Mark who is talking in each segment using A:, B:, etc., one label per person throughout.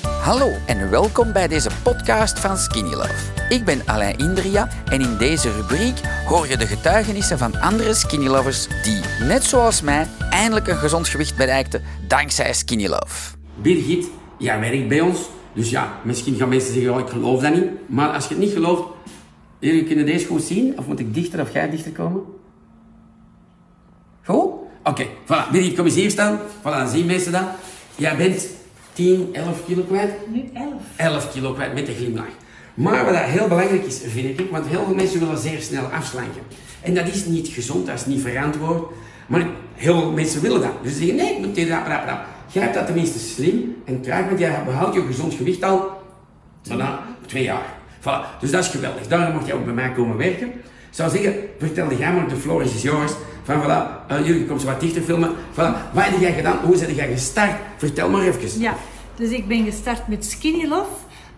A: Hallo en welkom bij deze podcast van Skinny Love. Ik ben Alain Indria en in deze rubriek hoor je de getuigenissen van andere Skinny Lovers die, net zoals mij, eindelijk een gezond gewicht bereikten dankzij Skinny Love.
B: Birgit, jij werkt bij ons. Dus ja, misschien gaan mensen zeggen, ja, ik geloof dat niet. Maar als je het niet gelooft, jullie kunnen deze goed zien. Of moet ik dichter of jij dichter komen? Goed? Oké, voilà. Birgit, kom eens hier staan. Voilà, dan zien mensen dat. Jij bent 10, 11 kilo kwijt.
C: Nu 11.
B: 11 kilo kwijt met de glimlach. Maar wat dat heel belangrijk is, vind ik, want heel veel mensen willen zeer snel afslanken. En dat is niet gezond, dat is niet verantwoord. Maar heel veel mensen willen dat. Dus ze zeggen, nee, ik moet dit, rap, rap, rap. Jij hebt dat tenminste slim en traag, want jij behoudt je gezond gewicht al bijna twee jaar. Voilà. Dus dat is geweldig. Daarom mocht jij ook bij mij komen werken. Ik zou zeggen, vertel jij maar, de floor is yours. Van voilà, eh, jullie komen zo wat dichter filmen. Voilà, wat heb jij gedaan? Hoe ben jij gestart? Vertel maar even.
C: Ja, dus ik ben gestart met Skinny Love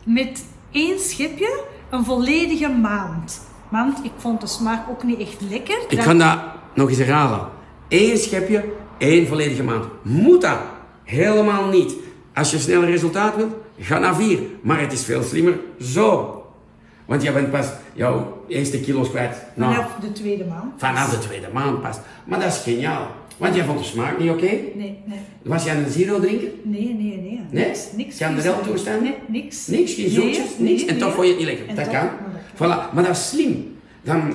C: met één schipje, een volledige maand. Want ik vond de smaak ook niet echt lekker.
B: Ik
C: Dat-
B: kan dat nog eens herhalen. Eén schepje, één volledige maand. Moet dat? Helemaal niet. Als je snel resultaat wilt, ga naar vier. Maar het is veel slimmer zo. Want je bent pas jouw eerste kilo's kwijt. Nou,
C: Vanaf de tweede maand.
B: vanaf de tweede maand pas. Maar dat is geniaal. Want jij vond de smaak niet oké?
C: Nee, nee.
B: Was jij een zero drinker?
C: Nee, nee, nee.
B: Niks?
C: Niks.
B: Kanderel
C: geen-
B: toestaan?
C: Nee, niks.
B: Niks, geen zoetjes, niks. en toch vond je het niet lekker.
C: En
B: Dat
C: toch-
B: kan. Voilà. Maar dat is slim. Dan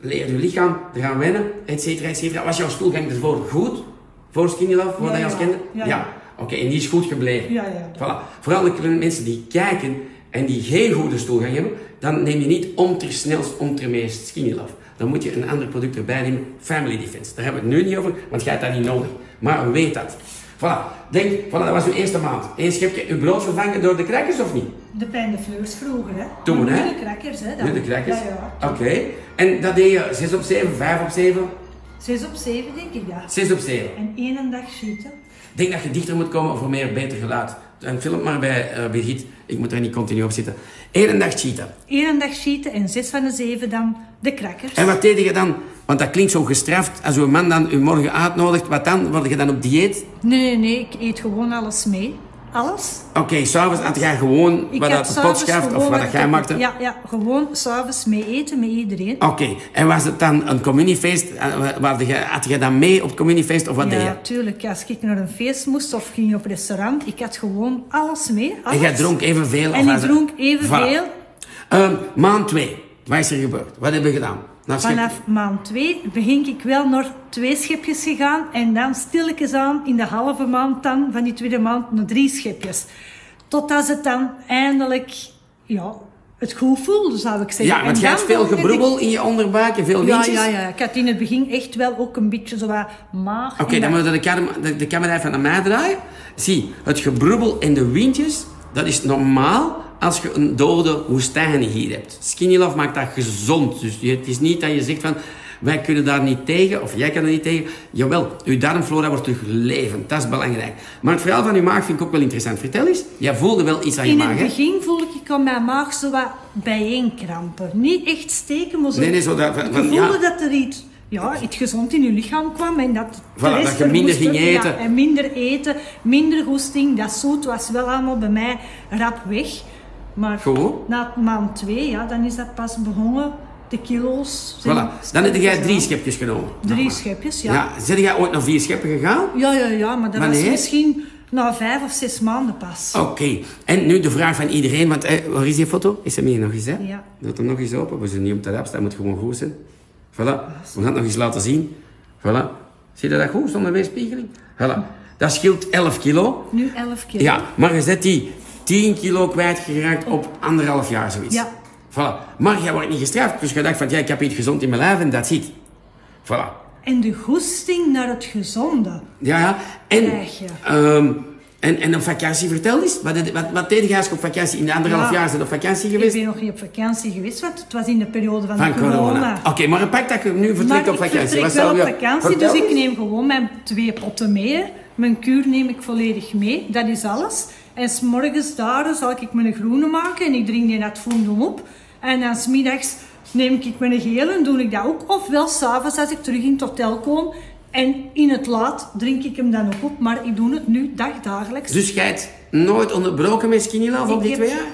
B: leert je lichaam eraan wennen, et cetera, et cetera. Was jouw stoelgang ervoor goed? Voor Skinny Love, voordat
C: Ja,
B: je als
C: ja.
B: kinder?
C: Ja, ja.
B: Oké, en die is goed gebleven.
C: Ja, ja.
B: Voilà. Vooral de kleine mensen die kijken en die geen goede stoelgang hebben, dan neem je niet om ter snelst, om ter meest Skinny Love. Dan moet je een ander product erbij nemen, Family Defense. Daar hebben we het nu niet over, want jij hebt dat niet nodig. Maar weet dat. Voilà, denk, voilà, dat was uw eerste maand. Eén schepje, uw brood vervangen door de crackers of niet?
C: De pijn de fleurs vroeger, hè.
B: Toen,
C: Maar
B: hè?
C: Nu de crackers, hè. dan.
B: Nu de crackers?
C: Ja, ja.
B: Oké. En dat deed je 6 op 7, 5 op 7,
C: Zes op zeven, denk ik, ja.
B: 6 op 7.
C: En één dag schieten.
B: Ik denk dat je dichter moet komen voor meer beter geluid. En film maar bij eh, Birgit, ik moet er niet continu op zitten. Eén dag cheaten.
C: Eén dag schieten en zes van de zeven dan de crackers.
B: En wat deed je dan? Want dat klinkt zo gestraft. Als uw man dan u morgen uitnodigt, wat dan? Word je dan op dieet?
C: Nee, nee, nee, ik eet gewoon alles mee. Alles.
B: Oké, s'avonds had jij gewoon
C: Ik
B: wat uit de
C: heb
B: pot
C: s'avonds
B: schaft of
C: gewoon
B: wat dat jij
C: ik-
B: maakte? Ah,
C: Ja, ja gewoon s'avonds mee eten met iedereen.
B: Oké, en was het dan een communiefeest? Eh, waar je- Had jij dan mee op het communiefeest of wat deed je?
C: ja, tuurlijk. Als ik naar een feest moest of ging op restaurant, ik had gewoon alles mee. Alles.
B: En jij dronk evenveel?
C: En
B: of
C: ik
B: was het-
C: dronk evenveel.
B: Voilà. Ehm, maand 2, wat is er gebeurd? Wat hebben we gedaan? Nou, schip-
C: Vanaf maand twee begin ik wel naar twee schepjes gegaan. En dan stilletjes aan in de halve maand dan, van die tweede maand, naar drie schepjes. Totdat ze dan eindelijk, ja, het goed voelde, zou ik zeggen.
B: Ja, want
C: En
B: jij
C: dan
B: hebt veel
C: voelde ik-
B: gebroebel in je onderbuik en veel
C: Ja,
B: lintjes.
C: ja, ja. Ik had in het begin echt wel ook een beetje zo wat maag.
B: Oké, dan
C: En dat-
B: moeten we de, kar- de, de camera even naar mij draaien. Zie, het gebroebel en de windjes, dat is normaal als je een dode woestijn hier hebt. Skinny Love maakt dat gezond. Dus je- het is niet dat je zegt van, wij kunnen daar niet tegen, of jij kan er niet tegen. Jawel, uw darmflora wordt terug levend. Dat is belangrijk. Maar het verhaal van je maag vind ik ook wel interessant. Vertel eens, jij voelde wel iets aan je
C: In
B: maag,
C: het
B: hè?
C: begin voelde ik aan mijn maag zo wat bijeenkrampen. Niet echt steken, maar zo...
B: Nee, nee, zo dat-
C: Ik
B: van-
C: voelde
B: ja.
C: dat er iets, ja, iets gezond in je lichaam kwam en dat... de
B: Voilà,
C: rest
B: dat je minder
C: verwoest
B: ging
C: werd. Ja,
B: eten.
C: en minder eten, minder goesting. Dat zoet was wel allemaal bij mij rap weg. Maar
B: Goed.
C: na maand twee, ja, dan is dat pas begonnen. De kilo's... zijn
B: Voilà. Dan heb jij
C: stilletjes
B: drie
C: aan.
B: schepjes genomen.
C: Drie
B: Nog maar.
C: schepjes, ja.
B: Ja, zijn jij ooit naar vier scheppen gegaan?
C: Ja, ja, ja, maar dat
B: Wanneer?
C: was misschien na vijf of zes maanden pas.
B: Oké, en nu de vraag van iedereen, want eh, waar is die foto? Is hem hier nog eens, hè?
C: Ja.
B: Doe hem nog eens open, we zijn niet op de raps, dat moet gewoon goed zijn. Voilà, we gaan het nog eens laten zien. Voilà, zie je dat goed, zonder weerspiegeling? Voilà, dat scheelt 11 kilo.
C: Nu elf keer.
B: Ja, maar je zet die 10 kilo kwijtgeraakt op anderhalf jaar, zoiets.
C: Ja.
B: Voilà, maar jij wordt niet gestraft, dus je dacht van, ja, ik heb iets gezond in mijn lijf en dat zit. Voilà,
C: En de goesting naar het gezonde.
B: ja, ja. En,
C: Krijg je.
B: ehm, en, en op vakantie, vertel eens. Wat, deed- wat, wat deed jij als je op vakantie? In de anderhalf
C: Ja.
B: jaar zijn op vakantie
C: Ik
B: geweest?
C: ben nog niet op vakantie geweest, want het was in de periode van,
B: Van
C: de corona.
B: corona. Oké, maar pak dat je nu vertrekt op
C: maar ik
B: vakantie.
C: vertrek
B: Wat
C: wel
B: zou
C: op
B: je-
C: vakantie,
B: vertel
C: dus ik
B: eens.
C: neem gewoon mijn twee potten mee. Mijn kuur neem ik volledig mee, dat is alles. En s'morgens daar zal ik mijn groene maken en ik drink die net voendom op. En dan s'middags neem ik mijn gele en doe ik dat ook. Ofwel s'avonds als ik terug in het hotel kom en in het laat drink ik hem dan ook op. Maar ik doe het nu dagdagelijks.
B: Dus jij hebt nooit onderbroken met Skinny Love op
C: Ik
B: die
C: heb-
B: twee jaar?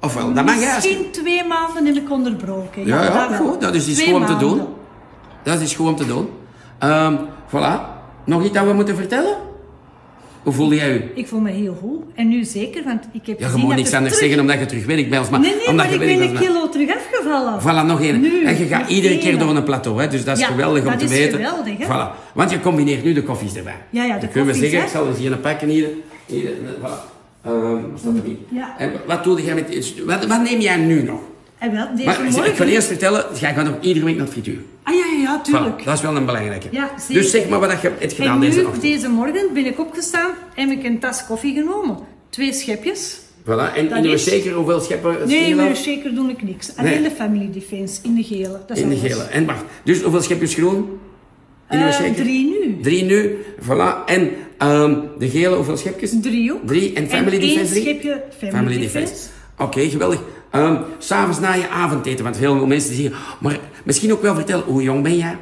B: Of wel, dat mag juist.
C: Misschien twee maanden heb ik onderbroken.
B: Ja, ja,
C: wel.
B: goed. Dat is iets
C: Twee
B: gewoon te
C: maanden.
B: doen. Dat is gewoon te doen. Ehm, voilà. Nog iets dat we moeten vertellen? Hoe voel jij je?
C: Ik voel me heel goed. En nu zeker, want ik heb
B: Ja, je
C: gezien
B: moet
C: dat
B: niks
C: er
B: anders
C: terug-
B: zeggen omdat je terug werkt bij ons. Maar,
C: Nee, nee,
B: omdat
C: maar
B: je
C: ik
B: werkt
C: ben
B: bij
C: een
B: ons, maar-
C: kilo terug afgevallen.
B: Voilà, nog één.
C: Nu,
B: en je gaat
C: nog
B: iedere keer
C: één.
B: door een plateau, hè? dus dat is
C: Ja,
B: geweldig om
C: dat
B: te
C: is
B: weten.
C: geweldig, hè?
B: Voilà. Want je combineert nu de koffies erbij.
C: Ja, ja, de
B: Dan kunnen we
C: koffies,
B: zeggen,
C: hè?
B: ik zal eens hier een pakken hier. hier eh, voilà. Ehm, staat er niet.
C: Ja.
B: En wat doe jij met... Wat, wat neem jij nu nog?
C: En wel, deze
B: Maar,
C: morgen...
B: ik wil eerst vertellen, jij gaat nog iedere week naar het frituur.
C: Ah ja, ja, ja,
B: Voilà,
C: tuurlijk.
B: dat is wel een belangrijke.
C: Ja, zeker.
B: dus zeg maar wat je hebt gedaan
C: en nu,
B: deze ochtend.
C: morgen, ben ik opgestaan en heb ik een tas koffie genomen. Twee schepjes.
B: Voilà, en
C: dat
B: in de
C: is-
B: zeker hoeveel scheppen eh,
C: Nee,
B: Skinny
C: maar
B: Love?
C: zeker doe ik niks. Alleen de family defense, in de gele. Dat is
B: in de
C: alles.
B: gele. En wacht, dus hoeveel schepjes groen? In uw
C: Eh,
B: shaker?
C: drie nu.
B: Drie nu, voilà. En ehm, de gele, hoeveel schepjes?
C: Drie ook.
B: Drie en family
C: en
B: defense? drie?
C: één schepje family, defense.
B: Oké, geweldig. Ehm, S S'avonds na je avondeten, want heel veel mensen zeggen, maar misschien ook wel vertellen, hoe jong ben jij?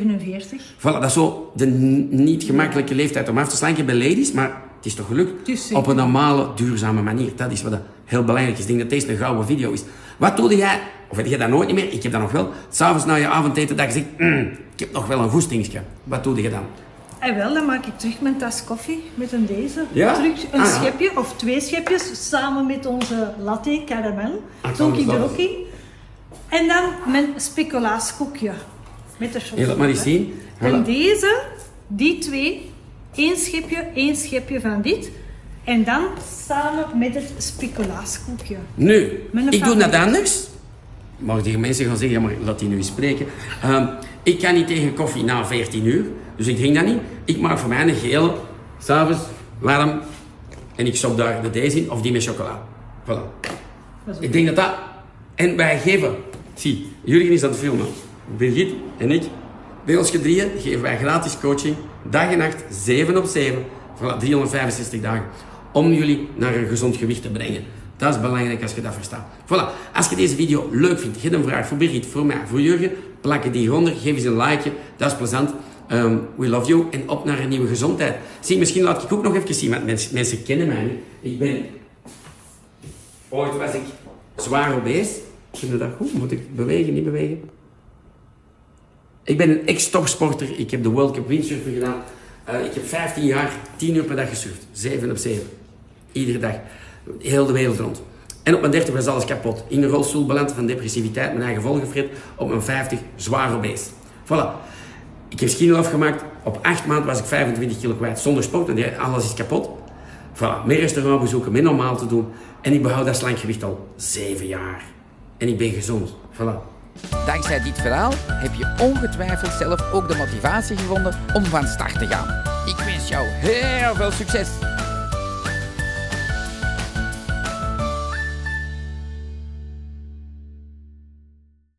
C: 47.
B: Voilà, dat is zo de n- niet gemakkelijke leeftijd om af te slanken bij ladies, maar het is toch gelukt?
C: is zeker.
B: Op een normale, duurzame manier. Dat is wat dat heel belangrijk is. Ik denk dat deze een gouden video is. Wat doe jij, of heb jij dat nooit meer? Ik heb dat nog wel. S'avonds na je avondeten, dat je zegt, "Mm, ik heb nog wel een goestingsje. Wat doe je dan?
C: En Ah, wel, dan maak ik terug mijn tas koffie met een deze.
B: Ja?
C: Terug een
B: Ah, ja.
C: schepje of twee schepjes samen met onze latte caramel.
B: Ah,
C: Doe ik
B: dat is
C: er
B: alles.
C: ook in. En dan mijn speculaaskoekje met de chocolade.
B: Heel dat maar eens zien.
C: En
B: Voilà.
C: deze, die twee, één schepje, één schepje van dit. En dan samen met het speculaaskoekje.
B: Nu,
C: Met een
B: ik doe dat
C: favoriet.
B: anders. Maar die mensen gaan zeggen, ja, maar laat die nu eens spreken. Ehm, ik kan niet tegen koffie na 14 uur, dus ik drink dat niet. Ik maak voor mij een gele, s'avonds, warm. En ik stop daar de deze in, of die met chocola. Voilà.
C: Dat is ook-
B: Ik denk dat dat... En wij geven... Zie, Jurgen is aan het filmen. Birgit en ik, bij ons gedrieën, geven wij gratis coaching. Dag en nacht, 7 op 7. Voilà, 365 dagen. Om jullie naar een gezond gewicht te brengen. Dat is belangrijk als je dat verstaat. Voilà, als je deze video leuk vindt, geef een vraag voor Birgit, voor mij, voor Jurgen. Plakken die hieronder, geef eens een likeje. Dat is plezant. Ehm, we love you en op naar een nieuwe gezondheid. Zie, misschien laat ik ook nog even zien, want mensen, mensen kennen mij niet. Ik ben Ooit was ik zwaar obese. Vind je dat goed? Moet ik bewegen, niet bewegen? Ik ben een ex-topsporter. Ik heb de World Cup windsurfen gedaan. Eh, ik heb 15 jaar 10 uur per dag gesurfd. 7 op 7. Iedere dag. Heel de wereld rond. En op mijn 30 was alles kapot. In een rolstoel beland van depressiviteit, mijn eigen volgefrit. Op mijn 50 zwaar obese. Voilà. Ik heb schienel afgemaakt. Op acht maanden was ik 25 kilo kwijt zonder sport. En die- alles is kapot. Voilà, meer restaurantbezoeken, meer normaal te doen. En ik behoud dat slankgewicht al zeven jaar. En ik ben gezond. Voilà.
A: Dankzij dit verhaal heb je ongetwijfeld zelf ook de motivatie gevonden om van start te gaan. Ik wens jou heel veel succes!